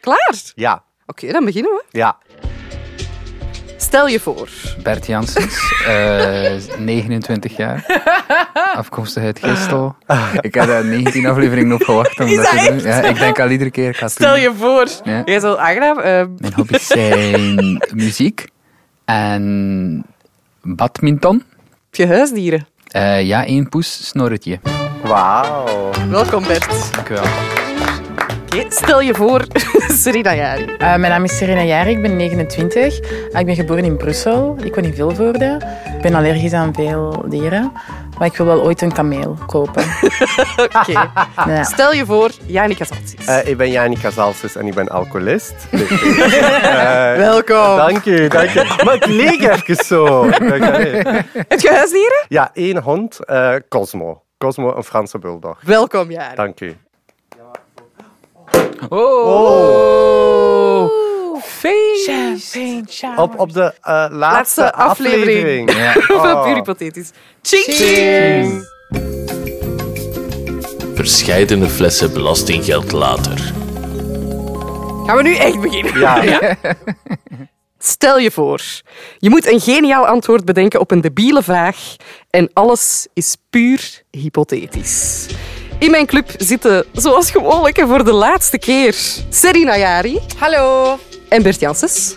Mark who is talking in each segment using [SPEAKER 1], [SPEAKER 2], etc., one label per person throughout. [SPEAKER 1] Klaar? Oké,
[SPEAKER 2] Ja,
[SPEAKER 1] dan beginnen we.
[SPEAKER 2] ja.
[SPEAKER 1] Stel je voor.
[SPEAKER 3] Bert Janssens, eh, 29 jaar, afkomstig uit Gistel.
[SPEAKER 2] Ah.
[SPEAKER 3] Ik had daar 19 afleveringen op gewacht om
[SPEAKER 1] Is
[SPEAKER 3] dat
[SPEAKER 1] dat
[SPEAKER 3] te doen.
[SPEAKER 1] echt?
[SPEAKER 3] Ja, ik denk al iedere keer, ik ga het
[SPEAKER 1] Stel
[SPEAKER 3] doen.
[SPEAKER 1] je voor.
[SPEAKER 3] Ja.
[SPEAKER 1] Jij zal aangenaam. eh,
[SPEAKER 3] Mijn hobby's zijn muziek en badminton.
[SPEAKER 1] heb je huisdieren?
[SPEAKER 3] Eh, ja, één poes, snorretje.
[SPEAKER 2] Wauw.
[SPEAKER 1] Welkom Bert.
[SPEAKER 3] Dank u wel.
[SPEAKER 1] Oké, Stel je voor, Serena Jari.
[SPEAKER 4] Eh, mijn naam is Serena Jaar, ik ben 29. Eh, ik ben geboren in Brussel, ik woon in Vilvoorde. Ik ben allergisch aan veel dieren, maar ik wil wel ooit een kameel kopen.
[SPEAKER 1] Oké.
[SPEAKER 2] Ah.
[SPEAKER 4] Ja.
[SPEAKER 1] Stel je voor, Janica Zantzis.
[SPEAKER 2] Eh, ik ben Janica Zalses en ik ben alcoholist.
[SPEAKER 1] Oh. Welkom.
[SPEAKER 2] Dank u, dank u. Maar ik leek even zo. Ik dacht, allee.
[SPEAKER 1] Heb je huisdieren?
[SPEAKER 2] Ja, één hond, eh, Cosmo. Cosmo, een Franse bulldog.
[SPEAKER 1] Welkom, Jari.
[SPEAKER 2] Dank u. Oh.
[SPEAKER 3] Oh.
[SPEAKER 2] Op, op de eh, laatste,
[SPEAKER 1] Laatste aflevering.
[SPEAKER 2] aflevering.
[SPEAKER 3] Ja.
[SPEAKER 1] Hoeveel
[SPEAKER 2] Oh.
[SPEAKER 1] puur hypothetisch. Ching, ching.
[SPEAKER 5] Verscheidene flessen belastinggeld later.
[SPEAKER 1] Gaan we nu echt beginnen?
[SPEAKER 2] Ja.
[SPEAKER 1] Stel je voor, je moet een geniaal antwoord bedenken op een debiele vraag en alles is puur hypothetisch. In mijn club zitten, zoals gewoonlijk en voor de laatste keer, Serena Jari
[SPEAKER 4] Hallo!
[SPEAKER 1] en Bert Janssens.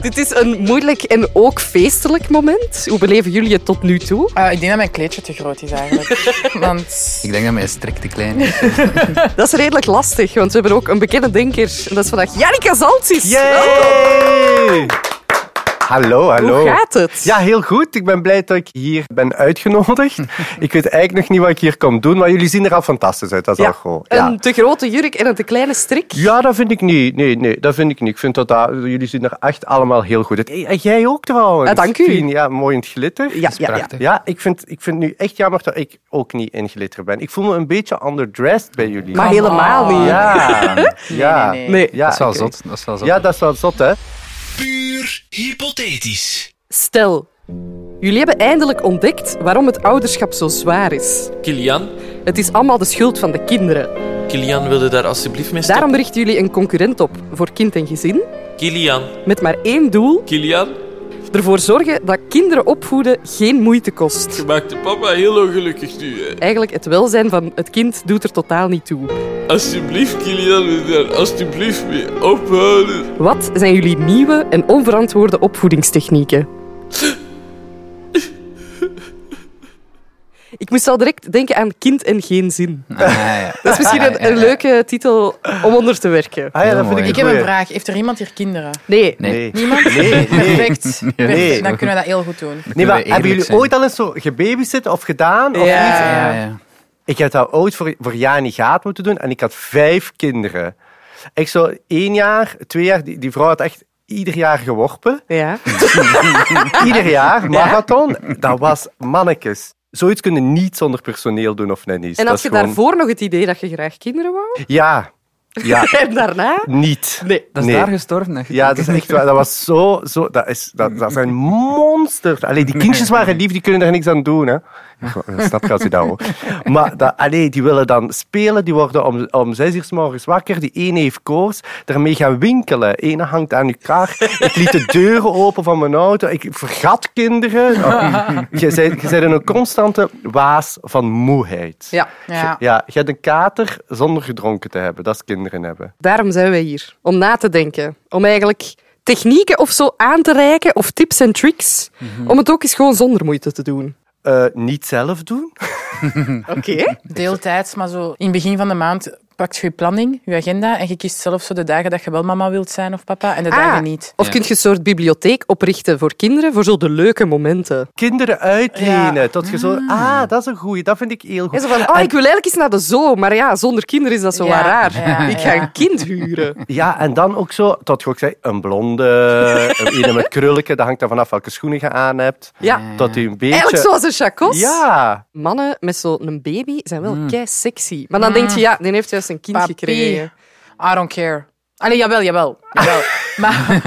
[SPEAKER 1] Dit is een moeilijk en ook feestelijk moment. Hoe beleven jullie het tot nu toe?
[SPEAKER 4] eh, ik denk dat mijn kleedje te groot is eigenlijk. Want
[SPEAKER 3] Ik denk dat mijn strik te klein is.
[SPEAKER 1] Dat is redelijk lastig, want we hebben ook een bekende denker. En dat is vandaag Janneke Zaltjes.
[SPEAKER 2] Yay! Hallo, hallo.
[SPEAKER 1] Hoe gaat het?
[SPEAKER 2] Ja, heel goed. Ik ben blij dat ik hier ben uitgenodigd. ik weet eigenlijk nog niet wat ik hier kom doen, maar jullie zien er al fantastisch uit. Dat is
[SPEAKER 1] Ja,
[SPEAKER 2] al goed.
[SPEAKER 1] Een te grote jurk en een te kleine strik.
[SPEAKER 2] Ja, dat vind ik niet. Nee, nee, dat vind ik niet. Ik vind dat, dat jullie zien er echt allemaal heel goed uit. En jij ook trouwens.
[SPEAKER 1] Ah, dank u.
[SPEAKER 2] Fien, ja, mooi in het glitter.
[SPEAKER 1] Ja, ja, ja.
[SPEAKER 3] prachtig.
[SPEAKER 2] Ja, ik vind, ik vind nu echt jammer dat ik ook niet in glitter ben. Ik voel me een beetje underdressed bij jullie.
[SPEAKER 1] Maar helemaal niet.
[SPEAKER 2] Ja, ja.
[SPEAKER 4] nee,
[SPEAKER 1] Nee.
[SPEAKER 2] Ja,
[SPEAKER 3] dat is wel
[SPEAKER 2] oké.
[SPEAKER 3] zot. Dat is wel zot.
[SPEAKER 2] Ja, dat is wel zot, hè? Ah,
[SPEAKER 5] Puur hypothetisch.
[SPEAKER 1] Stel, jullie hebben eindelijk ontdekt waarom het ouderschap zo zwaar is.
[SPEAKER 5] Kilian,
[SPEAKER 1] Het is allemaal de schuld van de kinderen.
[SPEAKER 5] Kilian wilde daar alsjeblieft mee stoppen.
[SPEAKER 1] Daarom richten jullie een concurrent op voor kind en gezin.
[SPEAKER 5] Kilian,
[SPEAKER 1] Met maar één doel:
[SPEAKER 5] Kilian,
[SPEAKER 1] ervoor zorgen dat kinderen opvoeden geen moeite kost.
[SPEAKER 5] je maakt de papa heel ongelukkig nu. hè.
[SPEAKER 1] Eigenlijk, het welzijn van het kind doet er totaal niet toe.
[SPEAKER 5] Alsjeblieft, Kilian, wil je daar alsjeblieft mee ophouden.
[SPEAKER 1] Wat zijn jullie nieuwe en onverantwoorde opvoedingstechnieken? Ik moest al direct denken aan kind en geen zin.
[SPEAKER 3] Ah, ja, ja.
[SPEAKER 1] Dat is misschien een, een leuke titel om onder te werken.
[SPEAKER 2] Ah, ja,
[SPEAKER 3] Heel
[SPEAKER 2] dat vind
[SPEAKER 3] mooi.
[SPEAKER 2] ik,
[SPEAKER 4] ik heb een
[SPEAKER 2] goeie.
[SPEAKER 4] vraag. Heeft er iemand hier kinderen?
[SPEAKER 1] Nee.
[SPEAKER 3] Nee.
[SPEAKER 2] Nee.
[SPEAKER 4] Niemand?
[SPEAKER 2] Nee, nee.
[SPEAKER 4] Perfect.
[SPEAKER 2] nee.
[SPEAKER 4] Dan kunnen we dat heel goed doen.
[SPEAKER 2] Nee, maar
[SPEAKER 3] Kunnen we
[SPEAKER 2] hebben jullie
[SPEAKER 3] eerlijk zijn?
[SPEAKER 2] ooit al eens zo gebabysit of gedaan? Of
[SPEAKER 1] Ja.
[SPEAKER 2] iets?
[SPEAKER 3] Ah, Ja, ja.
[SPEAKER 2] Ik heb dat ooit voor, voor Jani Gaat moeten doen en ik had vijf kinderen. Ik zo één jaar, twee jaar, die, die vrouw had echt ieder jaar geworpen.
[SPEAKER 1] Ja.
[SPEAKER 2] Ieder jaar, marathon. Dat was mannetjes. Zoiets kunnen niet zonder personeel doen of net niet.
[SPEAKER 1] En
[SPEAKER 2] Dat
[SPEAKER 1] had
[SPEAKER 2] is
[SPEAKER 1] je
[SPEAKER 2] gewoon-
[SPEAKER 1] daarvoor nog het idee dat je graag kinderen wou?
[SPEAKER 2] Ja. Ja,
[SPEAKER 1] En daarna?
[SPEAKER 2] niet.
[SPEAKER 1] Nee.
[SPEAKER 3] Dat is
[SPEAKER 2] Nee.
[SPEAKER 3] daar gestorven. hè.
[SPEAKER 2] Ja, dat is echt waar. Dat was zo... zo dat, is, dat, dat zijn monsters. Allee, die kindjes waren lief, die kunnen daar niks aan doen. Hè. Goh, Dat snap ik als je dat hoort. Maar dat, allee, die willen dan spelen. Die worden om, om zes uur s morgens wakker. Die ene heeft koorts. Daarmee gaan winkelen. Ene hangt aan elkaar. Ik liet de deuren open van mijn auto. Ik vergat kinderen. Oh, Je bent je bent in een constante waas van moeheid.
[SPEAKER 1] Ja.
[SPEAKER 4] Ja.
[SPEAKER 2] Ja, je hebt een kater zonder gedronken te hebben. Dat is kinderen hebben.
[SPEAKER 1] Daarom zijn wij hier. Om na te denken. Om eigenlijk technieken of zo aan te reiken of tips en tricks. Om het ook eens gewoon zonder moeite te doen.
[SPEAKER 2] Eh, niet zelf doen.
[SPEAKER 1] Oké.
[SPEAKER 4] Deeltijds, maar zo in het begin van de maand pakt je je planning, je agenda en je kiest zelf zo de dagen dat je wel mama wilt zijn of papa
[SPEAKER 2] Ah.
[SPEAKER 4] en de dagen niet.
[SPEAKER 1] Ah. Of kun je een soort bibliotheek oprichten voor kinderen, voor zo de leuke momenten.
[SPEAKER 2] kinderen uitlenen. Tot je
[SPEAKER 1] Mm.
[SPEAKER 2] zo, ah, dat is een goeie, dat vind ik heel
[SPEAKER 1] En
[SPEAKER 2] goed.
[SPEAKER 1] zo van, oh, ik wil eigenlijk eens naar de zoo, maar ja, zonder kinderen is dat zo
[SPEAKER 4] Ja,
[SPEAKER 1] wel raar.
[SPEAKER 4] ja,
[SPEAKER 1] ik ga
[SPEAKER 4] ja.
[SPEAKER 1] een kind huren.
[SPEAKER 2] Ja, en dan ook zo, tot je ook zei, een blonde, een ene met krullen, dat hangt er vanaf welke schoenen je aan hebt.
[SPEAKER 1] Ja.
[SPEAKER 2] Tot die een beetje...
[SPEAKER 1] Eigenlijk zoals een chacos.
[SPEAKER 2] Ja,
[SPEAKER 1] Mannen met zo'n baby zijn
[SPEAKER 2] Hmm.
[SPEAKER 1] wel kei sexy. Maar dan denk je, ja, die heeft juist een kind
[SPEAKER 4] Papi.
[SPEAKER 1] gekregen.
[SPEAKER 4] I don't care. Allee, jawel, jawel. jawel. Maar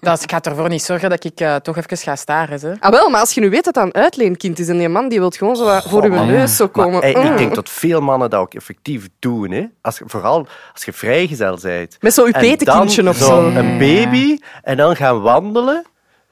[SPEAKER 4] dat, is- ik ga ervoor niet zorgen dat ik eh, toch even ga staren. Hè.
[SPEAKER 1] Ah wel, maar als je nu weet dat dat een uitleenkind is en die man die wil gewoon zo wat voor uw
[SPEAKER 3] man.
[SPEAKER 1] neus zo komen.
[SPEAKER 2] Maar, eh,
[SPEAKER 1] Mm.
[SPEAKER 2] ik denk dat veel mannen dat ook effectief doen. Hè? Als, je- vooral als je vrijgezel bent.
[SPEAKER 1] Met zo'n
[SPEAKER 2] En dan
[SPEAKER 1] petekindje of zo.
[SPEAKER 2] zo'n Een baby en dan gaan wandelen.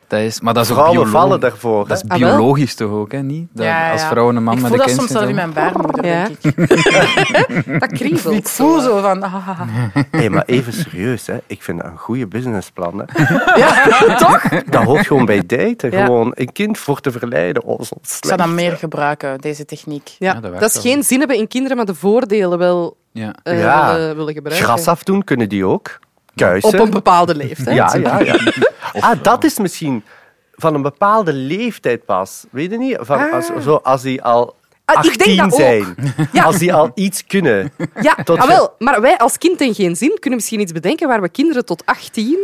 [SPEAKER 3] Dat is, maar dat is ook
[SPEAKER 2] Vrouwen
[SPEAKER 3] biolo-
[SPEAKER 2] vallen daarvoor.
[SPEAKER 3] Dat is
[SPEAKER 1] Ah, wel?
[SPEAKER 3] biologisch toch ook, hè? Niet? Dat,
[SPEAKER 4] Ja, ja.
[SPEAKER 3] Als vrouwen een man
[SPEAKER 4] ik
[SPEAKER 3] met
[SPEAKER 4] voel
[SPEAKER 3] een
[SPEAKER 4] dat
[SPEAKER 3] kind
[SPEAKER 4] soms zelf in mijn baarmoeder,
[SPEAKER 1] Ja.
[SPEAKER 4] denk ik.
[SPEAKER 1] Dat kriebelt.
[SPEAKER 4] Ik voel zo van... ah, ah, ah.
[SPEAKER 2] Hé, maar even serieus, hè. ik vind dat een goede businessplan. Hè.
[SPEAKER 1] Ja, toch?
[SPEAKER 2] Dat hoort gewoon bij daten.
[SPEAKER 1] Ja.
[SPEAKER 2] Gewoon een kind voor te verleiden. Oh, zo
[SPEAKER 4] Ik zou dat
[SPEAKER 2] slecht.
[SPEAKER 4] meer gebruiken, deze techniek.
[SPEAKER 1] Ja,
[SPEAKER 3] dat werkt
[SPEAKER 1] dat is
[SPEAKER 3] wel.
[SPEAKER 1] geen zin hebben in kinderen, maar de voordelen wel
[SPEAKER 3] Ja.
[SPEAKER 1] eh,
[SPEAKER 2] Ja.
[SPEAKER 1] willen, willen gebruiken.
[SPEAKER 2] Gras afdoen kunnen die ook.
[SPEAKER 1] Op
[SPEAKER 2] Kuisen.
[SPEAKER 1] een bepaalde leeftijd.
[SPEAKER 2] ja, ja, ja. Ah, dat is misschien van een bepaalde leeftijd pas. Weet je niet? Van, als, zo, als die al
[SPEAKER 1] Ah,
[SPEAKER 2] 18
[SPEAKER 1] ik denk dat ook.
[SPEAKER 2] zijn. Als die al iets kunnen.
[SPEAKER 1] Ja,
[SPEAKER 2] Tot
[SPEAKER 1] ah,
[SPEAKER 2] je-
[SPEAKER 1] wel, maar wij als kind in geen zin kunnen misschien iets bedenken waar we kinderen tot 18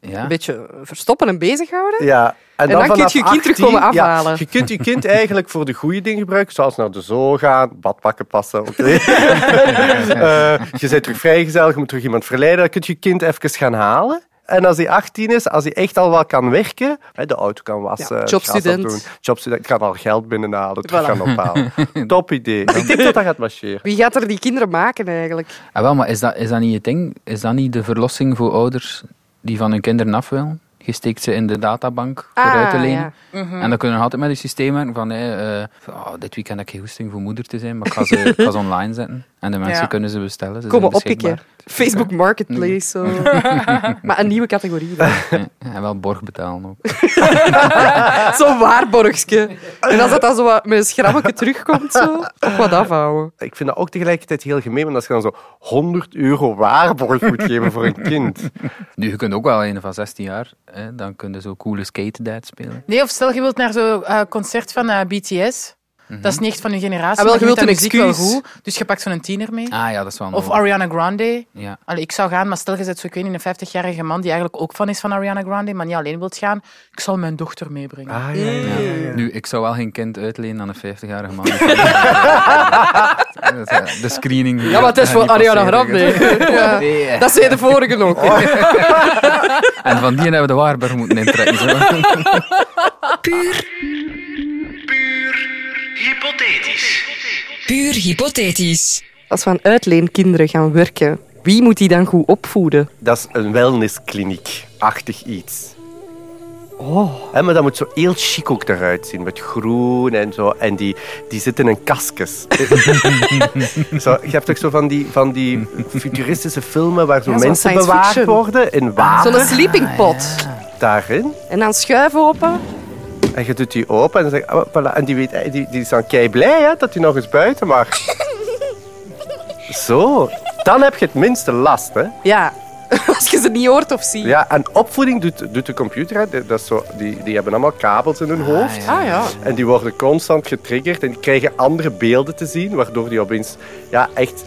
[SPEAKER 3] Ja.
[SPEAKER 1] een beetje verstoppen en bezighouden.
[SPEAKER 2] Ja. En,
[SPEAKER 1] dan kun je
[SPEAKER 2] vanaf
[SPEAKER 1] je kind terug
[SPEAKER 2] 18,
[SPEAKER 1] komen
[SPEAKER 2] ja,
[SPEAKER 1] afhalen.
[SPEAKER 2] je kunt je kind eigenlijk voor de goede dingen gebruiken, zoals naar de zoo gaan, badpakken passen. oké. Eh, je bent terug vrijgezel, je moet terug iemand verleiden. Dan kun je je kind even gaan halen. En als hij 18 is, als hij echt al wel kan werken, hè, de auto kan wassen,
[SPEAKER 1] Ja,
[SPEAKER 2] gras
[SPEAKER 1] jobstudent.
[SPEAKER 2] afdoen, jobstudent, kan al geld binnenhalen, terug
[SPEAKER 1] Voilà.
[SPEAKER 2] gaan ophalen. Top idee. Ik denk dat dat gaat marcheren.
[SPEAKER 1] Wie gaat er die kinderen maken eigenlijk?
[SPEAKER 3] Ah, wel, maar is dat, is dat niet het ding? Is dat niet de verlossing voor ouders die van hun kinderen af willen? Je steekt ze in de databank voor
[SPEAKER 1] Ah,
[SPEAKER 3] uit te lenen.
[SPEAKER 1] ja.
[SPEAKER 3] En dan kunnen we nog altijd met een systeem werken van hé, eh, van, oh, dit weekend heb ik geen goesting voor moeder te zijn, maar ik ga ze, ik ga ze online zetten. En de mensen
[SPEAKER 4] Ja.
[SPEAKER 3] kunnen ze bestellen. Ze
[SPEAKER 1] Komen
[SPEAKER 3] zijn Dus beschikbaar.
[SPEAKER 1] oppikken. Facebook Marketplace. Zo. maar een nieuwe categorie. dan.
[SPEAKER 3] Ja, en wel borg betalen ook.
[SPEAKER 1] Zo'n waarborgske. En als dat dan zo wat met een schrammetje terugkomt, zo, toch wat afhouden.
[SPEAKER 2] Ik vind dat ook tegelijkertijd heel gemeen, want als je dan zo 100 euro waarborg moet geven voor een kind.
[SPEAKER 3] Nu, je kunt ook wel een van 16 jaar, hè, dan kun je zo coole skate dad spelen.
[SPEAKER 4] Nee, of stel, je wilt naar zo'n eh, concert van eh, BTS.
[SPEAKER 3] Mhm.
[SPEAKER 4] Dat is niet echt van je generatie,
[SPEAKER 1] Ah, wel,
[SPEAKER 4] maar
[SPEAKER 1] je
[SPEAKER 4] je
[SPEAKER 1] wilt
[SPEAKER 4] vindt
[SPEAKER 1] een
[SPEAKER 4] dat muziek
[SPEAKER 1] excuus.
[SPEAKER 4] wel goed. Dus je pakt zo'n tiener mee.
[SPEAKER 3] Ah ja, dat is wel een
[SPEAKER 4] Of
[SPEAKER 3] mogelijk.
[SPEAKER 4] Ariana Grande.
[SPEAKER 3] Ja.
[SPEAKER 4] Allee, ik zou gaan, maar stel je zet zo, ik weet niet, een 50-jarige man die eigenlijk ook fan is van Ariana Grande, maar niet alleen wilt gaan. Ik zal mijn dochter meebrengen.
[SPEAKER 2] Ah, ja, ja.
[SPEAKER 3] Nu, ik zou wel geen kind uitlenen aan een 50-jarige man. Dat is, eh, de screening.
[SPEAKER 1] Ja, maar het is
[SPEAKER 3] Ja,
[SPEAKER 1] voor
[SPEAKER 3] die
[SPEAKER 1] Ariana
[SPEAKER 3] passeren.
[SPEAKER 1] Grande. Ja.
[SPEAKER 3] Nee, eh.
[SPEAKER 1] Dat zei de vorige ook.
[SPEAKER 3] En van die hebben we de Waarberg moeten intrekken. zo.
[SPEAKER 6] Puur hypothetisch.
[SPEAKER 1] Als we aan uitleenkinderen gaan werken, wie moet die dan goed opvoeden?
[SPEAKER 2] Dat is een wellnesskliniek-achtig iets. Oh. maar dat moet zo heel chic ook eruit zien, met groen en zo. En die, die zitten in een kaskus. zo, je hebt toch zo van die, van die futuristische filmen waar zo
[SPEAKER 1] Ja, zo'n
[SPEAKER 2] mensen
[SPEAKER 1] science
[SPEAKER 2] bewaard
[SPEAKER 1] fiction.
[SPEAKER 2] worden in water
[SPEAKER 1] Zo'n sleeping pot.
[SPEAKER 2] daarin.
[SPEAKER 1] En dan schuiven open.
[SPEAKER 2] En je doet die open en, dan zeg, je, oh, voilà. en die, weet, eh, die, die is dan kei blij hè, dat hij nog eens buiten mag. zo, dan heb je het minste last. Hè.
[SPEAKER 1] Ja, als je ze niet hoort of ziet.
[SPEAKER 2] Ja, en opvoeding doet, doet de computer. Hè. Dat is zo, die, die hebben allemaal kabels in hun hoofd.
[SPEAKER 1] Ah ja.
[SPEAKER 2] En die worden constant getriggerd en die krijgen andere beelden te zien, waardoor die opeens ja, echt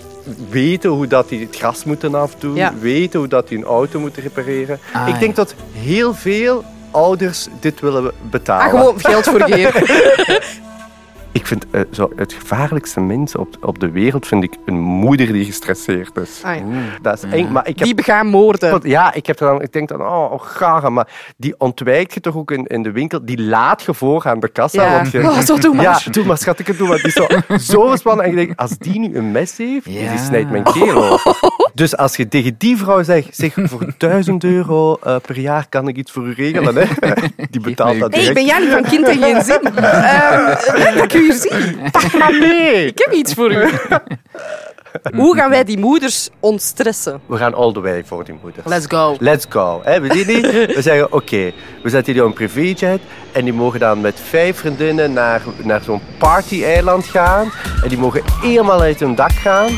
[SPEAKER 2] weten hoe dat die het gras moeten afdoen,
[SPEAKER 1] Ja.
[SPEAKER 2] weten hoe dat die een auto moeten repareren.
[SPEAKER 3] Ah,
[SPEAKER 2] Ik denk
[SPEAKER 3] ja.
[SPEAKER 2] dat heel veel ouders dit willen betalen.
[SPEAKER 1] Ah, gewoon geld voor geven.
[SPEAKER 2] Ik vind eh, zo het gevaarlijkste mens op, op de wereld vind ik een moeder die gestresseerd is. Mm.
[SPEAKER 1] Ah, ja.
[SPEAKER 2] Dat is eng, maar ik heb
[SPEAKER 1] Die begaan moorden.
[SPEAKER 2] Eh, want ja, ik, heb dan, ik denk dan, oh, oh gaga, maar die ontwijkt je toch ook in, in de winkel. Die laat je voor aan de kassa.
[SPEAKER 1] Ja.
[SPEAKER 2] Want je,
[SPEAKER 1] Oh, zo doe maar.
[SPEAKER 2] Ja, doe maar, schat, ik het doe maar. Die is zo, zo gespannen. En je denkt, als die nu een mes heeft,
[SPEAKER 3] Ja.
[SPEAKER 2] die snijdt mijn keel over. Dus als je tegen die vrouw zegt, zeg, voor 1000 euro eh, per jaar kan ik iets voor u regelen. Hè? Die betaalt
[SPEAKER 3] mij
[SPEAKER 2] dat
[SPEAKER 3] uw
[SPEAKER 1] Hé,
[SPEAKER 2] direct.
[SPEAKER 1] ik ben jij niet van kind en geen zin? Ehm, leuk dat ik u hier zie.
[SPEAKER 2] Pak maar mee.
[SPEAKER 1] Ik heb iets voor u. Hoe gaan wij die moeders ontstressen?
[SPEAKER 2] We gaan all the way voor die moeder.
[SPEAKER 4] Let's go.
[SPEAKER 2] Let's go. Hè, we, zien die, we zeggen, oké, we zetten jullie op een privéjet. En die mogen dan met vijf vriendinnen naar, naar zo'n party-eiland gaan. En die mogen helemaal uit hun dak gaan.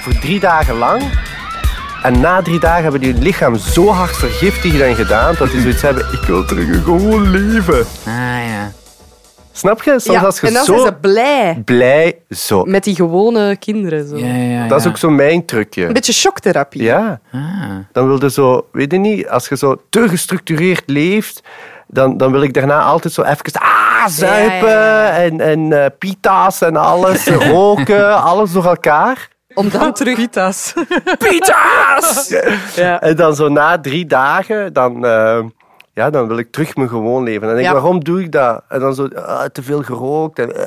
[SPEAKER 2] Voor drie dagen lang. En na drie dagen hebben die hun lichaam zo hard vergiftigd en gedaan... dat die zoiets hebben, ik wil terug een gewoon leven.
[SPEAKER 3] Ah ja.
[SPEAKER 2] Snap je? Soms als je
[SPEAKER 1] en dan
[SPEAKER 2] zo
[SPEAKER 1] zijn ze blij
[SPEAKER 2] blij... Zo.
[SPEAKER 1] met die gewone kinderen. Zo.
[SPEAKER 3] Ja, ja, ja.
[SPEAKER 2] Dat is ook zo mijn trucje.
[SPEAKER 1] Een beetje shocktherapie.
[SPEAKER 2] Ja.
[SPEAKER 3] Ah.
[SPEAKER 2] dan wilde zo, weet je niet, als je zo te gestructureerd leeft, dan, dan wil ik daarna altijd zo even ah, zuipen en, en eh, pita's en alles, roken, alles eh, door elkaar.
[SPEAKER 1] Om dan terug...
[SPEAKER 4] Pita's.
[SPEAKER 1] Pita's! Ja.
[SPEAKER 2] En dan zo na drie dagen, dan, eh, ja, dan wil ik terug mijn gewoon leven. En denk ik,
[SPEAKER 1] Ja.
[SPEAKER 2] waarom doe ik dat? En dan zo, ah, te veel gerookt. En, eh,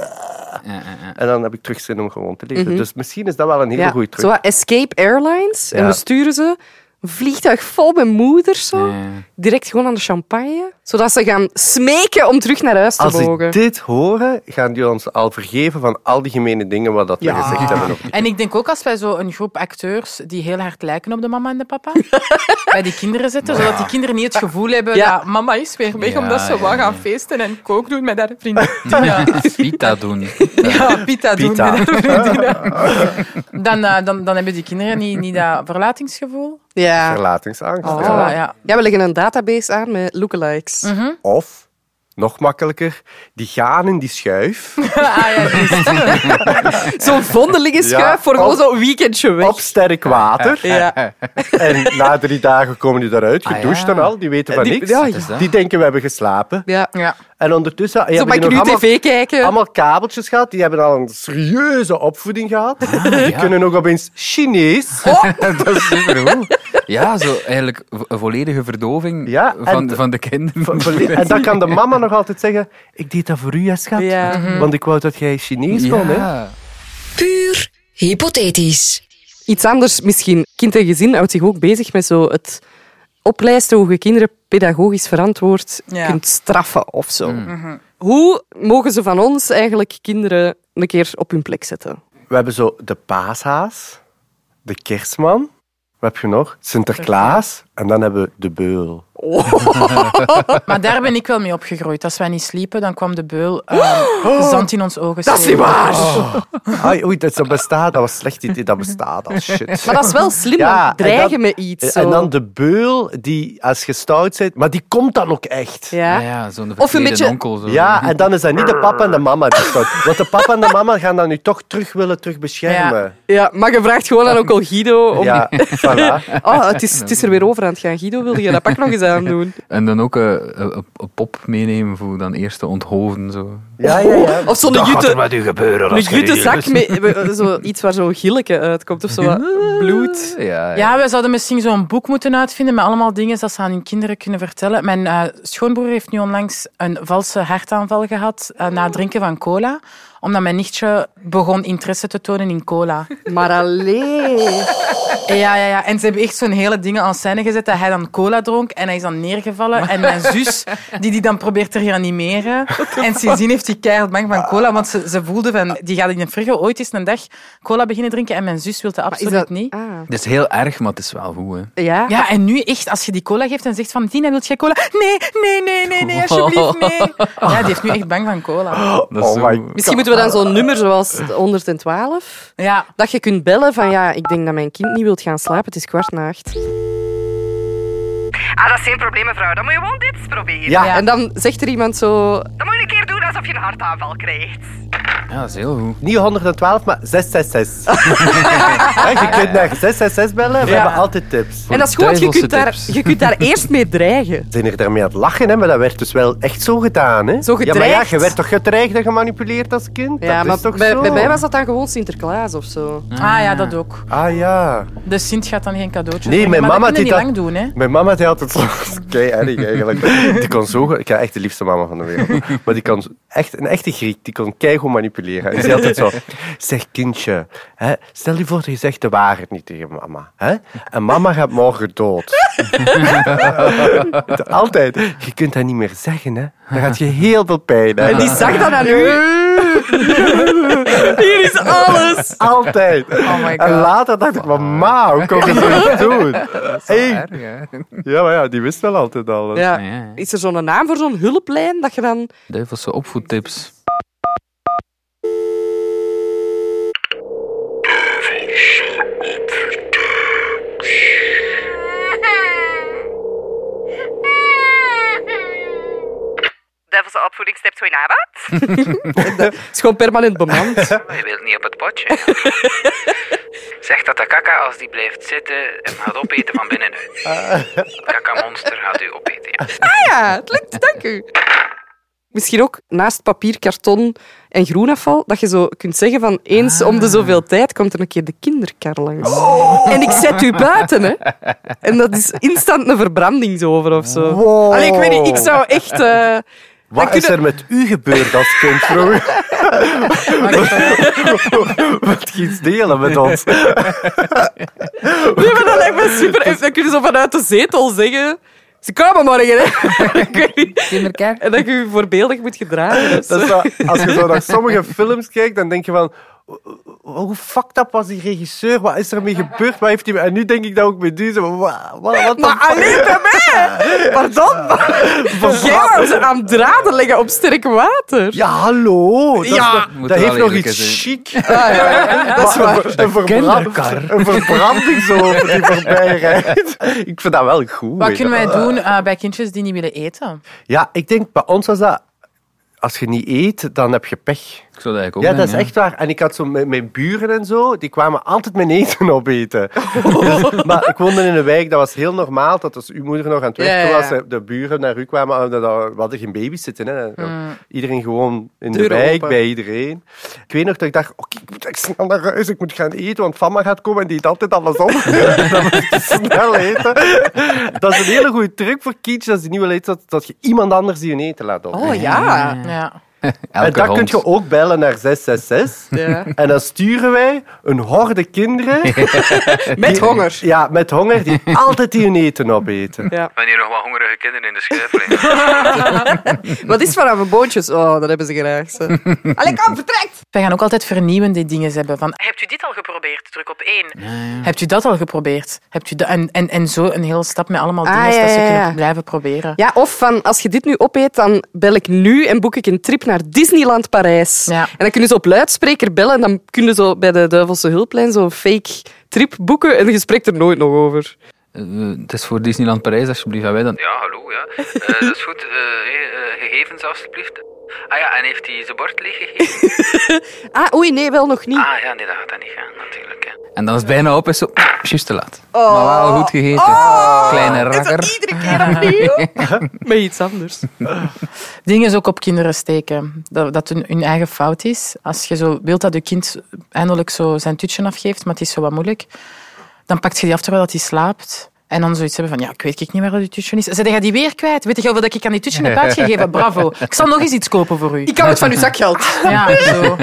[SPEAKER 3] Ja, ja, ja.
[SPEAKER 2] en dan heb ik terug zin om gewoon te leven. Dus misschien is dat wel een hele
[SPEAKER 1] Mhm. Ja.
[SPEAKER 2] goede truc.
[SPEAKER 1] Zo wat Escape Airlines. En
[SPEAKER 2] Ja.
[SPEAKER 1] we sturen ze een vliegtuig vol met moeders zo.
[SPEAKER 3] Ja.
[SPEAKER 1] Direct gewoon aan de champagne. Zodat ze gaan smeken om terug naar huis te
[SPEAKER 2] Als
[SPEAKER 1] mogen.
[SPEAKER 2] ik dit horen, gaan die ons al vergeven van al die gemene dingen wat dat we gezegd hebben. op-
[SPEAKER 4] En ik denk ook als wij zo een groep acteurs die heel hard lijken op de mama en de papa, bij die kinderen zetten, zodat die kinderen niet het gevoel hebben
[SPEAKER 1] Ja.
[SPEAKER 4] dat mama is weer weg,
[SPEAKER 3] Ja,
[SPEAKER 4] omdat ze
[SPEAKER 3] ja,
[SPEAKER 4] wel
[SPEAKER 3] ja.
[SPEAKER 4] gaan feesten en kook doen met haar vriendin. Ja,
[SPEAKER 3] Pita doen.
[SPEAKER 4] ja pita doen
[SPEAKER 2] Pita.
[SPEAKER 4] met haar vriendin. Dan, eh, dan, dan hebben die kinderen niet, niet dat verlatingsgevoel.
[SPEAKER 1] Ja. Oh.
[SPEAKER 2] Verlatingsangst.
[SPEAKER 4] Voilà,
[SPEAKER 2] ja.
[SPEAKER 4] ja.
[SPEAKER 1] ja, we leggen een database aan met lookalikes.
[SPEAKER 3] Mhm.
[SPEAKER 2] Of, nog makkelijker, die gaan in die schuif.
[SPEAKER 4] Ah, ja, dus.
[SPEAKER 1] Zo'n vondelingenschuif
[SPEAKER 2] Ja.
[SPEAKER 1] voor gewoon
[SPEAKER 2] Op-
[SPEAKER 1] zo'n weekendje weg.
[SPEAKER 2] Op sterk water.
[SPEAKER 1] Ja.
[SPEAKER 2] En na drie dagen komen die daaruit,
[SPEAKER 3] Ah,
[SPEAKER 2] gedoucht
[SPEAKER 3] ja.
[SPEAKER 2] en al. Die weten van
[SPEAKER 1] Die-
[SPEAKER 2] niks.
[SPEAKER 1] ja,
[SPEAKER 3] is dat?
[SPEAKER 2] Die denken, we hebben geslapen.
[SPEAKER 1] ja.
[SPEAKER 4] ja.
[SPEAKER 2] En ondertussen...
[SPEAKER 1] Zo
[SPEAKER 2] hebben
[SPEAKER 1] mag
[SPEAKER 2] die
[SPEAKER 1] ik
[SPEAKER 2] nog
[SPEAKER 1] nu
[SPEAKER 2] allemaal,
[SPEAKER 1] tv kijken.
[SPEAKER 2] allemaal kabeltjes gehad. Die hebben al een serieuze opvoeding gehad.
[SPEAKER 1] Ah,
[SPEAKER 2] Die
[SPEAKER 3] ja.
[SPEAKER 2] kunnen ook opeens Chinees.
[SPEAKER 3] dat is supergoed. Ja, zo eigenlijk vo- een volledige verdoving
[SPEAKER 2] Ja,
[SPEAKER 3] van,
[SPEAKER 2] en-
[SPEAKER 3] van de kinderen.
[SPEAKER 2] En dan kan de mama nog altijd zeggen... Ik deed dat voor u, hè, schat. Mhm.
[SPEAKER 1] Ja. Mhm.
[SPEAKER 2] Want ik wou dat jij Chinees kon, hè.
[SPEAKER 3] ja.
[SPEAKER 6] Puur hypothetisch.
[SPEAKER 1] Iets anders misschien. Kind en gezin houdt zich ook bezig met zo het oplijsten hoe je kinderen pedagogisch verantwoord
[SPEAKER 4] Ja.
[SPEAKER 1] kunt straffen of zo.
[SPEAKER 2] Mm.
[SPEAKER 1] Mhm. Hoe mogen ze van ons eigenlijk kinderen een keer op hun plek zetten?
[SPEAKER 2] We hebben zo de paashaas, de kerstman. Wat heb je nog? Sinterklaas. En dan hebben we de beul.
[SPEAKER 4] Maar daar ben ik wel mee opgegroeid. Als wij niet sliepen, dan kwam de beul eh, zand in ons ogen.
[SPEAKER 1] Dat is niet
[SPEAKER 4] steken.
[SPEAKER 1] waar!
[SPEAKER 2] Oh. Ai, oei, dat, dat bestaat. Dat was een slecht idee. Dat bestaat al. Shit.
[SPEAKER 1] Maar dat is wel slim,
[SPEAKER 2] Ja,
[SPEAKER 1] want dreigen
[SPEAKER 2] en
[SPEAKER 1] met iets. Zo.
[SPEAKER 2] En dan de beul, die als je stout bent... Maar die komt dan ook echt. Ja.
[SPEAKER 1] ja.
[SPEAKER 3] Ja, ja, zo'n
[SPEAKER 1] Of een
[SPEAKER 3] verklede
[SPEAKER 1] beetje-
[SPEAKER 3] onkel. Zo.
[SPEAKER 2] en dan is dat niet de papa en de mama die stout. Want de papa en de mama gaan dan nu toch terug willen terug beschermen.
[SPEAKER 1] ja, maar je vraagt gewoon aan onkel Guido om...
[SPEAKER 2] Ja, voilà.
[SPEAKER 1] Oh, het is, het is er weer over aan het gaan. Guido, wilde je dat pak nog eens aandoen?
[SPEAKER 3] En dan ook eh, een, een- een pop meenemen voor dan eerst te onthoven. Zo.
[SPEAKER 2] Ja, ja, ja.
[SPEAKER 1] Of zo'n jute,
[SPEAKER 7] Wat u gebeuren
[SPEAKER 1] een
[SPEAKER 7] als je
[SPEAKER 1] jute
[SPEAKER 7] niet
[SPEAKER 1] zak met met zo iets waar zo'n gilletje uitkomt of zo. wat Bloed.
[SPEAKER 3] Ja, ja.
[SPEAKER 4] Ja, we zouden misschien zo'n boek moeten uitvinden met allemaal dingen dat ze aan hun kinderen kunnen vertellen. Mijn eh, schoonbroer heeft nu onlangs een valse hartaanval gehad eh, na het drinken van cola. Omdat mijn nichtje begon interesse te tonen in cola.
[SPEAKER 1] Maar alleen.
[SPEAKER 4] Ja, ja, ja. En ze hebben echt zo'n hele dingen aan scène gezet dat hij dan cola dronk en hij is dan neergevallen. En mijn zus, die die dan probeert te reanimeren. En sindsdien heeft hij keihard bang van cola, want ze, ze voelde van... Die gaat in de frigo ooit eens een dag cola beginnen drinken en mijn zus wil dat absoluut niet.
[SPEAKER 1] Ah.
[SPEAKER 3] Het is heel erg, maar het is wel goed. Hè.
[SPEAKER 1] Ja?
[SPEAKER 4] Ja, en nu echt, als je die cola geeft en zegt van... Dina, wil jij cola? Nee, nee, nee, nee, nee, alsjeblieft, nee. Ja, die heeft nu echt bang van cola.
[SPEAKER 3] Dat is
[SPEAKER 2] Oh
[SPEAKER 3] zo-
[SPEAKER 2] my-
[SPEAKER 1] Misschien moeten we dan zo'n nummer zoals 112,
[SPEAKER 4] Ja.
[SPEAKER 1] dat je kunt bellen van ja, ik denk dat mijn kind niet wilt gaan slapen, het is kwart na acht.
[SPEAKER 8] Ah, dat is geen probleem, mevrouw. Dan moet je gewoon dit eens proberen.
[SPEAKER 2] Ja,
[SPEAKER 1] En dan zegt er iemand zo,
[SPEAKER 8] Dan moet je een keer doen alsof je een hartaanval krijgt.
[SPEAKER 3] Ja, dat is heel goed.
[SPEAKER 2] Niet 112, maar 666. Hè, je kunt naar 666 bellen. We hebben altijd tips.
[SPEAKER 1] en dat is goed, want je
[SPEAKER 3] Duivelse
[SPEAKER 1] kunt, daar,
[SPEAKER 3] tips.
[SPEAKER 1] je kunt daar eerst mee dreigen.
[SPEAKER 2] zijn er daarmee aan het lachen, hè? maar dat werd dus wel echt zo gedaan. Hè?
[SPEAKER 1] Zo
[SPEAKER 2] Ja, maar ja,
[SPEAKER 1] gedreigd.
[SPEAKER 2] je werd toch gedreigd en gemanipuleerd als kind?
[SPEAKER 1] Ja,
[SPEAKER 2] dat
[SPEAKER 1] maar
[SPEAKER 2] is toch
[SPEAKER 1] bij,
[SPEAKER 2] zo?
[SPEAKER 1] bij mij was dat dan gewoon Sinterklaas of zo.
[SPEAKER 4] Ah ja, dat ook.
[SPEAKER 2] Ah ja.
[SPEAKER 4] De Sint gaat dan geen cadeautjes
[SPEAKER 2] Nee,
[SPEAKER 4] brengen,
[SPEAKER 2] mijn
[SPEAKER 4] maar
[SPEAKER 2] mama
[SPEAKER 4] dat kunnen
[SPEAKER 2] deed
[SPEAKER 4] niet lang doen, hè.
[SPEAKER 2] Mijn mama die had het zo... Kei erg eigenlijk. Die kon zo... goed- Ik heb echt de liefste mama van de wereld. Maar die kon zo- echt, een echte Griek, die kon keigoed manipuleren. En ze had het zo... Zeg kindje, hè, stel je voor dat je zegt de waarheid niet tegen mama. Hè? En mama gaat morgen dood. Altijd. Je kunt dat niet meer zeggen, hè. Dan gaat je heel veel pijn hebben.
[SPEAKER 1] En die zag dat aan u. Hier is alles.
[SPEAKER 2] Altijd.
[SPEAKER 4] my
[SPEAKER 2] En
[SPEAKER 4] God.
[SPEAKER 2] later dacht ik, maar ma, hoe kon je zoiets doen? Hey.
[SPEAKER 3] Erg, hè.
[SPEAKER 2] Ja, maar ja, die wist wel altijd alles.
[SPEAKER 1] Ja.
[SPEAKER 3] ja.
[SPEAKER 1] Is er zo'n naam voor zo'n hulplijn dat je dan...
[SPEAKER 3] Duivelse opvoedtips.
[SPEAKER 8] Duivelse opvoedingstip, goedenavond.
[SPEAKER 1] Het is gewoon permanent bemand.
[SPEAKER 9] Je wilt niet op het potje. zeg dat de kaka, als die blijft zitten, hem gaat opeten van binnenuit. Kaka monster gaat u opeten. Ja.
[SPEAKER 1] Ja, het lukt, dank u. Misschien ook naast papier, karton en groenafval, dat je zo kunt zeggen van eens om de zoveel tijd komt er een keer de kinderkar langs.
[SPEAKER 2] Oh.
[SPEAKER 1] En ik zet u buiten, hè. En dat is instant een verbrandingsover of zo.
[SPEAKER 2] Wow.
[SPEAKER 1] Allee, ik weet niet, ik zou echt... eh,
[SPEAKER 2] Wat is er met u gebeurd als kind vroeger? Wat iets delen met ons?
[SPEAKER 1] Nee, maar dat lijkt me super. Dan kun je zo vanuit de zetel zeggen... Ze komen morgen, hè. Ik weet niet.
[SPEAKER 3] Kinderkerk.
[SPEAKER 1] En dat je je voorbeeldig moet gedragen. dus. of zo.
[SPEAKER 2] Dat is wel- als je zo naar sommige films kijkt, dan denk je van... Hoe fucked up was die regisseur? Wat is er mee gebeurd? Wat heeft hij... En nu denk ik dat ook met u. zo, wa- wa- Wat
[SPEAKER 1] Maar alleen bij mij! Pardon? Jij wou ze aan draden leggen op sterk water.
[SPEAKER 2] Ja, hallo. Dat, is
[SPEAKER 1] Ja.
[SPEAKER 2] nog-
[SPEAKER 3] Moet
[SPEAKER 2] dat
[SPEAKER 3] wel
[SPEAKER 2] heeft nog
[SPEAKER 3] eerlijk
[SPEAKER 2] iets
[SPEAKER 3] zijn.
[SPEAKER 2] chic. Dat is waar. Een, een, verbrand,
[SPEAKER 3] kinderkar.
[SPEAKER 2] een verbranding zo over die voorbij rijdt. Ik vind dat wel goed.
[SPEAKER 4] Wat
[SPEAKER 2] weet je
[SPEAKER 4] kunnen wij doen eh, bij kindjes die niet willen eten?
[SPEAKER 2] Ja, ik denk bij ons was dat. Als je niet eet, dan heb je pech.
[SPEAKER 3] Ik zou dat eigenlijk ook
[SPEAKER 2] Ja,
[SPEAKER 3] doen,
[SPEAKER 2] dat is echt waar. En ik had zo met mijn buren en zo, die kwamen altijd mijn eten opeten. Dus, maar ik woonde in een wijk, dat was heel normaal. Dat als uw moeder nog aan het werken
[SPEAKER 1] Ja, ja, ja.
[SPEAKER 2] was, de buren naar u kwamen, ah, dat- dat- we hadden geen baby's zitten. Hè. Iedereen gewoon in
[SPEAKER 1] Mm.
[SPEAKER 2] de
[SPEAKER 1] Deuren
[SPEAKER 2] wijk,
[SPEAKER 1] open.
[SPEAKER 2] bij iedereen. Ik weet nog dat ik dacht, oké, ik moet echt snel naar huis, ik moet gaan eten, want mama gaat komen en die eet altijd alles op. dan moet ik snel eten. Dat is een hele goede truc voor kindjes, als die nieuwe leed, dat, dat je iemand anders die hun eten laat op.
[SPEAKER 1] Oh ja.
[SPEAKER 4] Ja.
[SPEAKER 2] En dat kun je ook bellen naar 666.
[SPEAKER 1] Ja.
[SPEAKER 2] En dan sturen wij een horde kinderen.
[SPEAKER 1] Met honger.
[SPEAKER 2] Ja, met honger, die altijd die hun eten opeten.
[SPEAKER 1] Ja.
[SPEAKER 9] Wanneer nog wat hongerige kinderen in de schuif liggen.
[SPEAKER 1] Wat is vanaf mijn boontjes? Oh, dat hebben ze graag. ze. Allee, kom, vertrekt!
[SPEAKER 4] Wij gaan ook altijd vernieuwende dingen hebben. Van,
[SPEAKER 8] Hebt u dit al geprobeerd? Druk op één.
[SPEAKER 4] hebt u dat al geprobeerd? Hebt u dat? En, en, en zo een hele stap met allemaal
[SPEAKER 1] Ah,
[SPEAKER 4] dingen
[SPEAKER 1] ja,
[SPEAKER 4] dat ze
[SPEAKER 1] ja, ja.
[SPEAKER 4] kunnen blijven proberen.
[SPEAKER 1] Ja, of van, als je dit nu opeet, dan bel ik nu en boek ik een trip naar Disneyland Parijs.
[SPEAKER 4] Ja.
[SPEAKER 1] En dan kunnen ze op luidspreker bellen en dan kunnen ze bij de Duivelse Hulplijn zo'n fake trip boeken en je spreekt er nooit nog over.
[SPEAKER 3] Eh, Het is voor Disneyland Parijs, alsjeblieft. En wij dan...
[SPEAKER 9] Ja, hallo, ja. Eh, dat is goed. Eh, hey, eh, gegevens, alstublieft. Ah ja, en heeft hij zijn bord leeggegeven?
[SPEAKER 1] Ah, oei, nee, wel nog niet.
[SPEAKER 9] Ah ja, nee, dat gaat dat niet gaan, natuurlijk. Hè.
[SPEAKER 3] En dan is het bijna op en zo... Juist te laat.
[SPEAKER 2] Oh.
[SPEAKER 3] Maar wel goed
[SPEAKER 1] Ah.
[SPEAKER 3] gegeten. Kleine rakker.
[SPEAKER 1] Oh! Iedere keer opnieuw. Met iets anders.
[SPEAKER 4] Dingen ook op kinderen steken. Dat, dat hun, hun eigen fout is. Als je zo wilt dat je kind eindelijk zo zijn tutje afgeeft, maar het is zo wat moeilijk, dan pakt je die af terwijl dat hij slaapt. En dan zoiets hebben van, ja, ik weet ik niet meer waar die tutje is. Zeg, je die weer kwijt? Weet je wel dat ik aan die tutje heb uitgegeven? Bravo. Ik zal nog eens iets kopen voor u.
[SPEAKER 1] Ik hou het van uw zakgeld.
[SPEAKER 4] Ja, zo.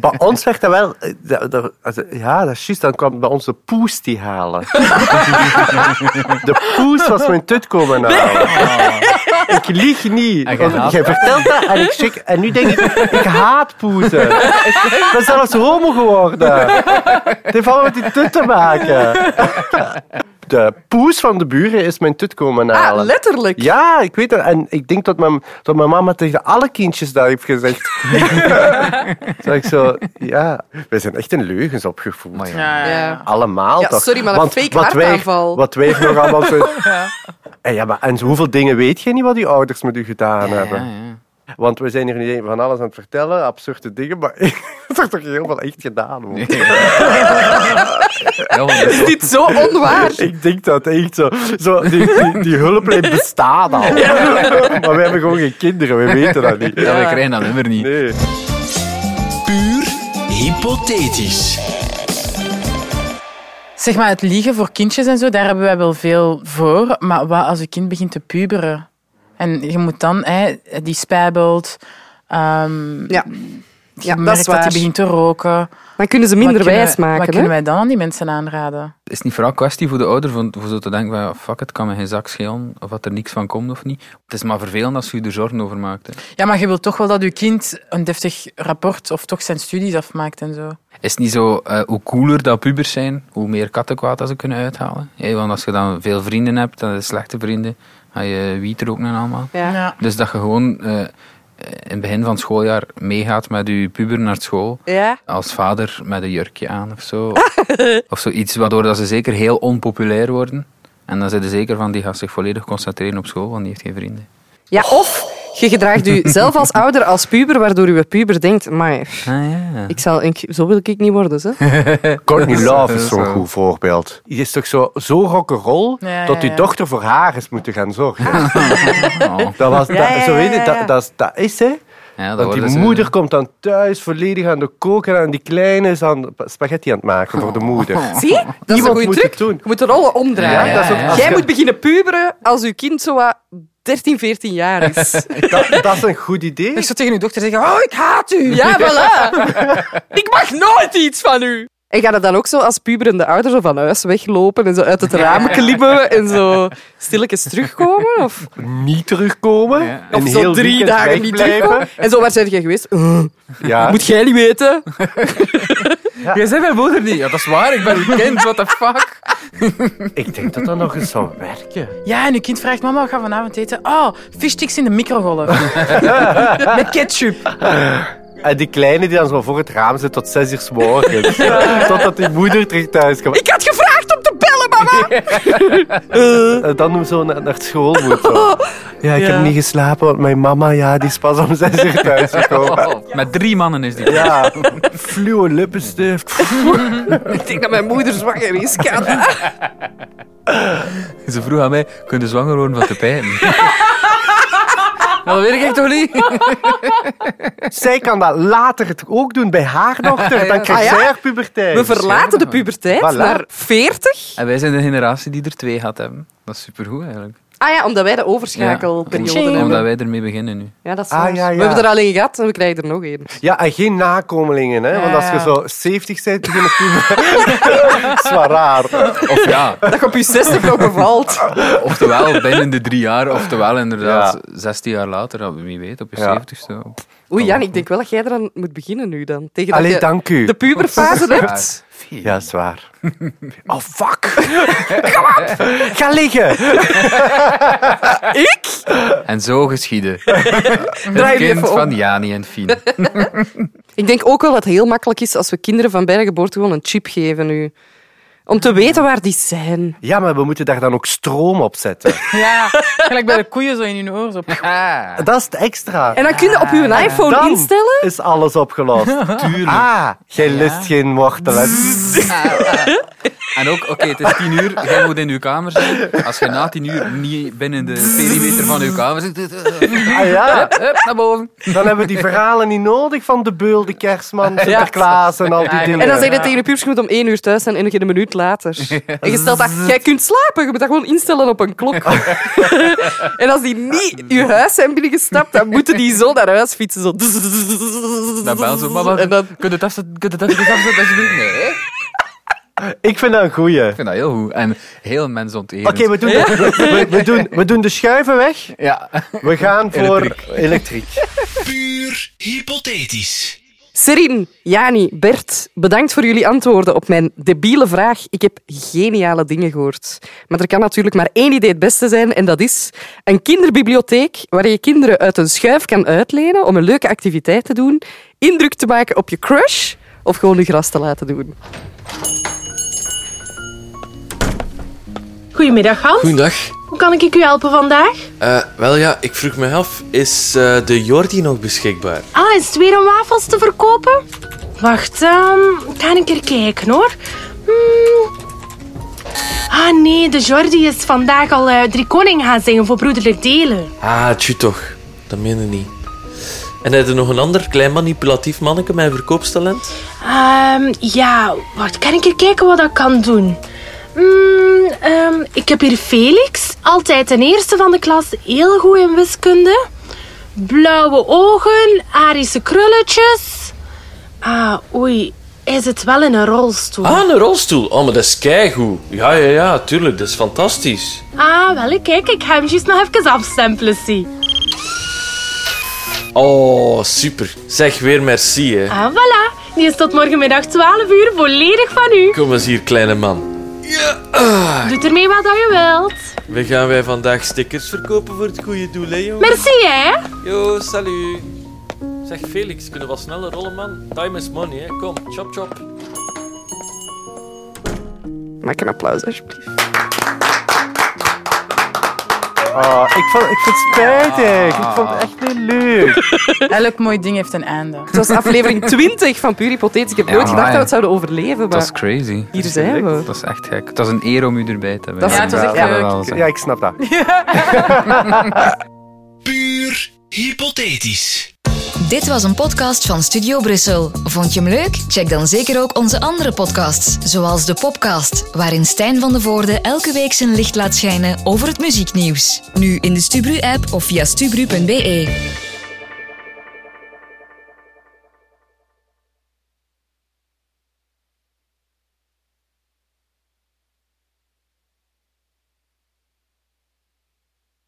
[SPEAKER 2] Bij ons werd dat wel... eh, dat- dat- also, Ja, dat is juist. Dan kwam bij ons de poes die halen. De poes was mijn tut komen halen. Ik lieg niet.
[SPEAKER 3] En
[SPEAKER 2] Want
[SPEAKER 3] jij haat
[SPEAKER 2] Jij vertelt dat en ik schrik. En nu denk ik, ik haat poezen. Ik ben zelfs homo geworden. Het heeft allemaal met die tut te maken. De poes van de buren is mijn tut komen halen.
[SPEAKER 1] Ah, letterlijk.
[SPEAKER 2] Ja, ik weet dat. En ik denk dat mijn, dat mijn mama tegen alle kindjes daar heeft gezegd. Zeg ik zo, ja. Wij zijn echt in leugens opgevoed.
[SPEAKER 3] Maar ja.
[SPEAKER 1] Ja.
[SPEAKER 2] Allemaal
[SPEAKER 1] Ja,
[SPEAKER 2] toch?
[SPEAKER 1] sorry, maar een fake hartaanval.
[SPEAKER 2] Wij, wat wij nog allemaal zo... En, ja, maar, en hoeveel dingen weet je niet wat die ouders met u gedaan hebben? Want we zijn hier niet van alles aan het vertellen, absurde dingen, maar het is toch heel veel echt gedaan. Hoor.
[SPEAKER 3] Ja, want dat is
[SPEAKER 1] Is dit zo onwaar?
[SPEAKER 2] Ik denk dat echt zo. zo die, die, die hulplijn bestaat al. Maar we hebben gewoon geen kinderen, we weten dat niet.
[SPEAKER 3] Ja, we krijgen dat nummer niet.
[SPEAKER 2] Nee.
[SPEAKER 7] Puur hypothetisch.
[SPEAKER 4] Zeg maar, het liegen voor kindjes en zo, daar hebben wij wel veel voor. Maar wat als een kind begint te puberen? En je moet dan, hè, die spijbelt. ehm,
[SPEAKER 1] Ja.
[SPEAKER 4] je
[SPEAKER 1] Ja, dat
[SPEAKER 4] merkt
[SPEAKER 1] is
[SPEAKER 4] dat
[SPEAKER 1] waar.
[SPEAKER 4] hij begint te roken.
[SPEAKER 1] Dan kunnen ze minder
[SPEAKER 4] Wat kunnen
[SPEAKER 1] wijs
[SPEAKER 4] wij- Wat
[SPEAKER 1] maken.
[SPEAKER 4] kunnen
[SPEAKER 1] Hè?
[SPEAKER 4] wij dan aan die mensen aanraden?
[SPEAKER 3] Het is niet vooral een kwestie voor de ouder van, voor zo te denken van ja, fuck het kan me geen zak schelen of dat er niks van komt of niet. Het is maar vervelend als je er zorgen over maakt. hè.
[SPEAKER 4] Ja, maar je wilt toch wel dat je kind een deftig rapport of toch zijn studies afmaakt en zo.
[SPEAKER 3] Is het niet zo, eh, hoe cooler dat pubers zijn, hoe meer kattenkwaad dat ze kunnen uithalen? Hé, want als je dan veel vrienden hebt, dan slechte vrienden, ga je wiet roken en allemaal.
[SPEAKER 1] Ja.
[SPEAKER 4] Ja.
[SPEAKER 3] Dus dat je gewoon eh, in het begin van het schooljaar meegaat met je puber naar school.
[SPEAKER 1] Ja.
[SPEAKER 3] Als vader met een jurkje aan of zo. of zoiets waardoor dat ze zeker heel onpopulair worden. En dan zijn ze zeker van die gaat zich volledig concentreren op school, want die heeft geen vrienden.
[SPEAKER 1] ja, of je gedraagt u zelf als ouder als puber, waardoor uw puber denkt, maar
[SPEAKER 3] Ah ja.
[SPEAKER 1] ik zal, ik, zo wil ik niet worden. Ze.
[SPEAKER 2] Courtney
[SPEAKER 3] Dat is-
[SPEAKER 2] Love
[SPEAKER 3] dat
[SPEAKER 2] is
[SPEAKER 3] is
[SPEAKER 2] zo'n
[SPEAKER 3] wel-
[SPEAKER 2] goed voorbeeld. Die is toch zo, zo rock'n'roll
[SPEAKER 4] Ja, ja,
[SPEAKER 2] dat die
[SPEAKER 4] ja.
[SPEAKER 2] dochter voor haar is moeten gaan zorgen.
[SPEAKER 3] Oh.
[SPEAKER 2] Dat was, dat,
[SPEAKER 1] ja,
[SPEAKER 2] zo weet je,
[SPEAKER 1] ja, ja.
[SPEAKER 2] dat, dat, is- dat is hè.
[SPEAKER 3] Ja, dat
[SPEAKER 2] Want die
[SPEAKER 3] worden ze-
[SPEAKER 2] moeder komt dan thuis volledig aan de koken en die kleine is aan spaghetti aan het maken voor de moeder.
[SPEAKER 1] Zie? Dat is
[SPEAKER 2] Iemand
[SPEAKER 1] een goede
[SPEAKER 2] moet
[SPEAKER 1] truc.
[SPEAKER 2] het doen.
[SPEAKER 1] Je moet de rollen omdraaien.
[SPEAKER 3] Ja, dat is ook- als
[SPEAKER 1] Jij
[SPEAKER 2] je-
[SPEAKER 1] moet beginnen puberen als je kind zo wat 13, 14 jaar is.
[SPEAKER 2] Dat, dat is een goed idee.
[SPEAKER 4] Ik zou tegen uw dochter zeggen, oh, ik haat u.
[SPEAKER 1] Ja, voilà. Ik mag nooit iets van u. En gaan er dan ook zo als puberende ouders zo van huis weglopen en zo uit het raam klimmen en zo stilletjes terugkomen? Of,
[SPEAKER 2] Niet terugkomen.
[SPEAKER 3] Ja.
[SPEAKER 2] Een
[SPEAKER 1] of zo
[SPEAKER 2] heel
[SPEAKER 1] drie
[SPEAKER 2] weekend
[SPEAKER 1] dagen niet
[SPEAKER 2] wegblijven.
[SPEAKER 1] terugkomen? En zo, waar zijn jij geweest? Eh,
[SPEAKER 2] Ja.
[SPEAKER 1] Moet jij niet weten?
[SPEAKER 3] Jij zei mijn moeder niet. Ja, dat is waar. Ik ben uw kind. What the fuck?
[SPEAKER 2] Ik denk dat dat nog eens zou werken.
[SPEAKER 4] Ja, en uw kind vraagt, mama, wat gaan we vanavond eten? Oh, fishsticks in de microgolf. Met ketchup.
[SPEAKER 2] En die kleine die dan zo voor het raam zit tot zes uur 's morgens. Totdat die moeder terug thuis komt.
[SPEAKER 1] Ik had gevraagd om te bellen, mama! Eh.
[SPEAKER 2] En dan hem zo naar, naar school moet. zo.
[SPEAKER 1] Oh.
[SPEAKER 2] Ja, ik heb niet geslapen, want mijn mama ja, die is pas om zes uur thuis gekomen.
[SPEAKER 3] Oh, met drie mannen is die.
[SPEAKER 2] Ja, fluo lippenstift.
[SPEAKER 1] Ik denk dat mijn moeder zwanger is. Kan.
[SPEAKER 3] Ze vroeg aan mij, kun je zwanger worden van de pijn? dat weet ik echt toch niet?
[SPEAKER 2] Zij kan dat later het ook doen bij haar dochter. Dan krijgt
[SPEAKER 1] Ah, ja?
[SPEAKER 2] zij haar puberteit.
[SPEAKER 1] We verlaten de puberteit
[SPEAKER 2] Voilà.
[SPEAKER 1] naar 40.
[SPEAKER 3] En wij zijn de generatie die er twee gaat hebben. Dat is supergoed eigenlijk.
[SPEAKER 1] Ah ja, omdat wij de overschakelperiode
[SPEAKER 4] Ja.
[SPEAKER 1] hebben.
[SPEAKER 3] Omdat wij ermee beginnen nu.
[SPEAKER 1] Ja, dat is
[SPEAKER 2] Ah,
[SPEAKER 1] waar.
[SPEAKER 2] ja, ja.
[SPEAKER 1] We hebben er al één gehad en we krijgen er nog één.
[SPEAKER 2] Ja, en geen nakomelingen, hè? Want als je zo 70 bent, begin je puberteit. Dat is wel raar.
[SPEAKER 3] Of ja,
[SPEAKER 1] Dat je op je 60 nog bevalt.
[SPEAKER 3] oftewel binnen de drie jaar, oftewel inderdaad 16 jaar later, dat we wie weet, op je
[SPEAKER 2] Ja.
[SPEAKER 3] 70ste.
[SPEAKER 1] Oei, Jan, ik denk wel dat jij eraan moet beginnen nu dan. Tegen dat
[SPEAKER 2] Oh. Allee,
[SPEAKER 1] je
[SPEAKER 2] dank
[SPEAKER 1] de
[SPEAKER 2] u.
[SPEAKER 1] puberfase hebt.
[SPEAKER 2] Ja, is waar. Oh, fuck. Ga liggen.
[SPEAKER 3] En zo geschieden. Het
[SPEAKER 1] je
[SPEAKER 3] kind
[SPEAKER 1] even om.
[SPEAKER 3] van Jani en Fien.
[SPEAKER 1] Ik denk ook wel dat het heel makkelijk is als we kinderen van bij de geboorte gewoon een chip geven nu. Om te weten waar die zijn.
[SPEAKER 2] Ja, maar we moeten daar dan ook stroom op zetten.
[SPEAKER 4] Ja, gelijk bij de koeien zo in hun oor. Zo.
[SPEAKER 2] Dat is het extra.
[SPEAKER 1] En dan kun je op
[SPEAKER 3] Ah,
[SPEAKER 1] je iPhone
[SPEAKER 2] Dan
[SPEAKER 1] instellen.
[SPEAKER 2] is alles opgelost. Tuurlijk. Ah, jij lust geen wortelen.
[SPEAKER 3] En ook, oké, het is tien uur, jij moet in uw kamer zijn. Als je na tien uur niet binnen de perimeter van uw kamer zit,
[SPEAKER 2] Ah ja,
[SPEAKER 3] hup, naar boven.
[SPEAKER 2] dan hebben we die verhalen niet nodig van de beul, de kerstman, Sinterklaas en al die dingen.
[SPEAKER 1] En dan zeg je tegen de pubers, je moet om één uur thuis zijn en nog een minuut later. En je stelt dat, jij kunt slapen, je moet dat gewoon instellen op een klok. en als die niet je huis zijn binnengestapt, dan moeten die zo naar huis fietsen. Zo.
[SPEAKER 3] Dan bel ze, mama,
[SPEAKER 1] En dan,
[SPEAKER 3] kun je het afzetten, kun je het afzetten, kun je het afzetten? Nee, hè? ik
[SPEAKER 2] Ik vind dat een goeie. Oké,
[SPEAKER 3] vind dat heel goed. En heel mensonterend.
[SPEAKER 2] we, doen de- we, we doen, we doen de schuiven weg.
[SPEAKER 3] Ja.
[SPEAKER 2] We gaan voor elektriek.
[SPEAKER 7] Puur hypothetisch.
[SPEAKER 1] Serin, Jani, Bert, bedankt voor jullie antwoorden op mijn debiele vraag. Ik heb geniale dingen gehoord. Maar er kan natuurlijk maar één idee het beste zijn en dat is een kinderbibliotheek waar je kinderen uit een schuif kan uitlenen om een leuke activiteit te doen, indruk te maken op je crush of gewoon je gras te laten doen.
[SPEAKER 10] Goedemiddag, Hans.
[SPEAKER 7] Goedendag.
[SPEAKER 10] Hoe kan ik u helpen vandaag?
[SPEAKER 7] Eh, wel ja, ik vroeg me af, is eh, de Jordi nog beschikbaar?
[SPEAKER 10] Ah, is het weer om wafels te verkopen? Wacht, ehm, ik ga een keer kijken hoor. Hmm. Ah nee, de Jordi is vandaag al eh drie koning gaan zingen voor broederlijk delen.
[SPEAKER 7] Ah, tju toch. Dat meen je niet. En heb je nog een ander klein manipulatief manneke met een verkoopstalent?
[SPEAKER 10] Ehm, ja, wacht, kan ik er kijken wat ik kan doen? Hmm, ehm, ik heb hier Felix, altijd de eerste van de klas, heel goed in wiskunde. Blauwe ogen, Arische krulletjes. Ah, oei, hij zit wel in een rolstoel. Ah,
[SPEAKER 7] Ah, een rolstoel. Oh, maar dat is keigoed. Ja, ja, ja, tuurlijk. Dat is fantastisch.
[SPEAKER 10] Ah, wel, kijk, ik ga hem juist nog even afstempelen, zie.
[SPEAKER 7] Oh, super. Zeg weer merci, hè.
[SPEAKER 10] Ah, voilà, die is tot morgenmiddag 12 uur volledig van u.
[SPEAKER 7] Kom eens hier, kleine man.
[SPEAKER 10] Doe ermee wat dat je wilt.
[SPEAKER 7] We gaan wij vandaag stickers verkopen voor het goede doel, hè, joh.
[SPEAKER 10] Merci, hè.
[SPEAKER 7] Yo, salut. Zeg, Felix, kunnen we wel sneller rollen, man? Time is money, hè. Kom, chop, chop.
[SPEAKER 1] Maak een applaus, alsjeblieft.
[SPEAKER 2] Ah, ik, vond, ik vind het spijtig. Ik vond het echt niet leuk.
[SPEAKER 4] Elk mooi ding heeft een einde.
[SPEAKER 1] Het was aflevering 20 van Puur Hypothetisch. Ik heb
[SPEAKER 3] Ja,
[SPEAKER 1] nooit gedacht dat
[SPEAKER 3] amai.
[SPEAKER 1] we het zouden overleven,
[SPEAKER 3] Dat is
[SPEAKER 1] maar
[SPEAKER 3] crazy.
[SPEAKER 1] hier zijn we.
[SPEAKER 3] Dat is echt gek. Het was een eer om u erbij te hebben.
[SPEAKER 1] Dat is Ja, het was echt
[SPEAKER 3] Dat
[SPEAKER 1] leuk.
[SPEAKER 3] wel zeggen.
[SPEAKER 2] Ja, ik snap dat.
[SPEAKER 7] Puur hypothetisch.
[SPEAKER 6] Dit was een podcast van Studio Brussel. Vond je hem leuk? Check dan zeker ook onze andere podcasts, zoals de Popcast, waarin Stijn van de Voorde elke week zijn licht laat schijnen over het muzieknieuws. Nu in de Stubru-app of via stubru.be.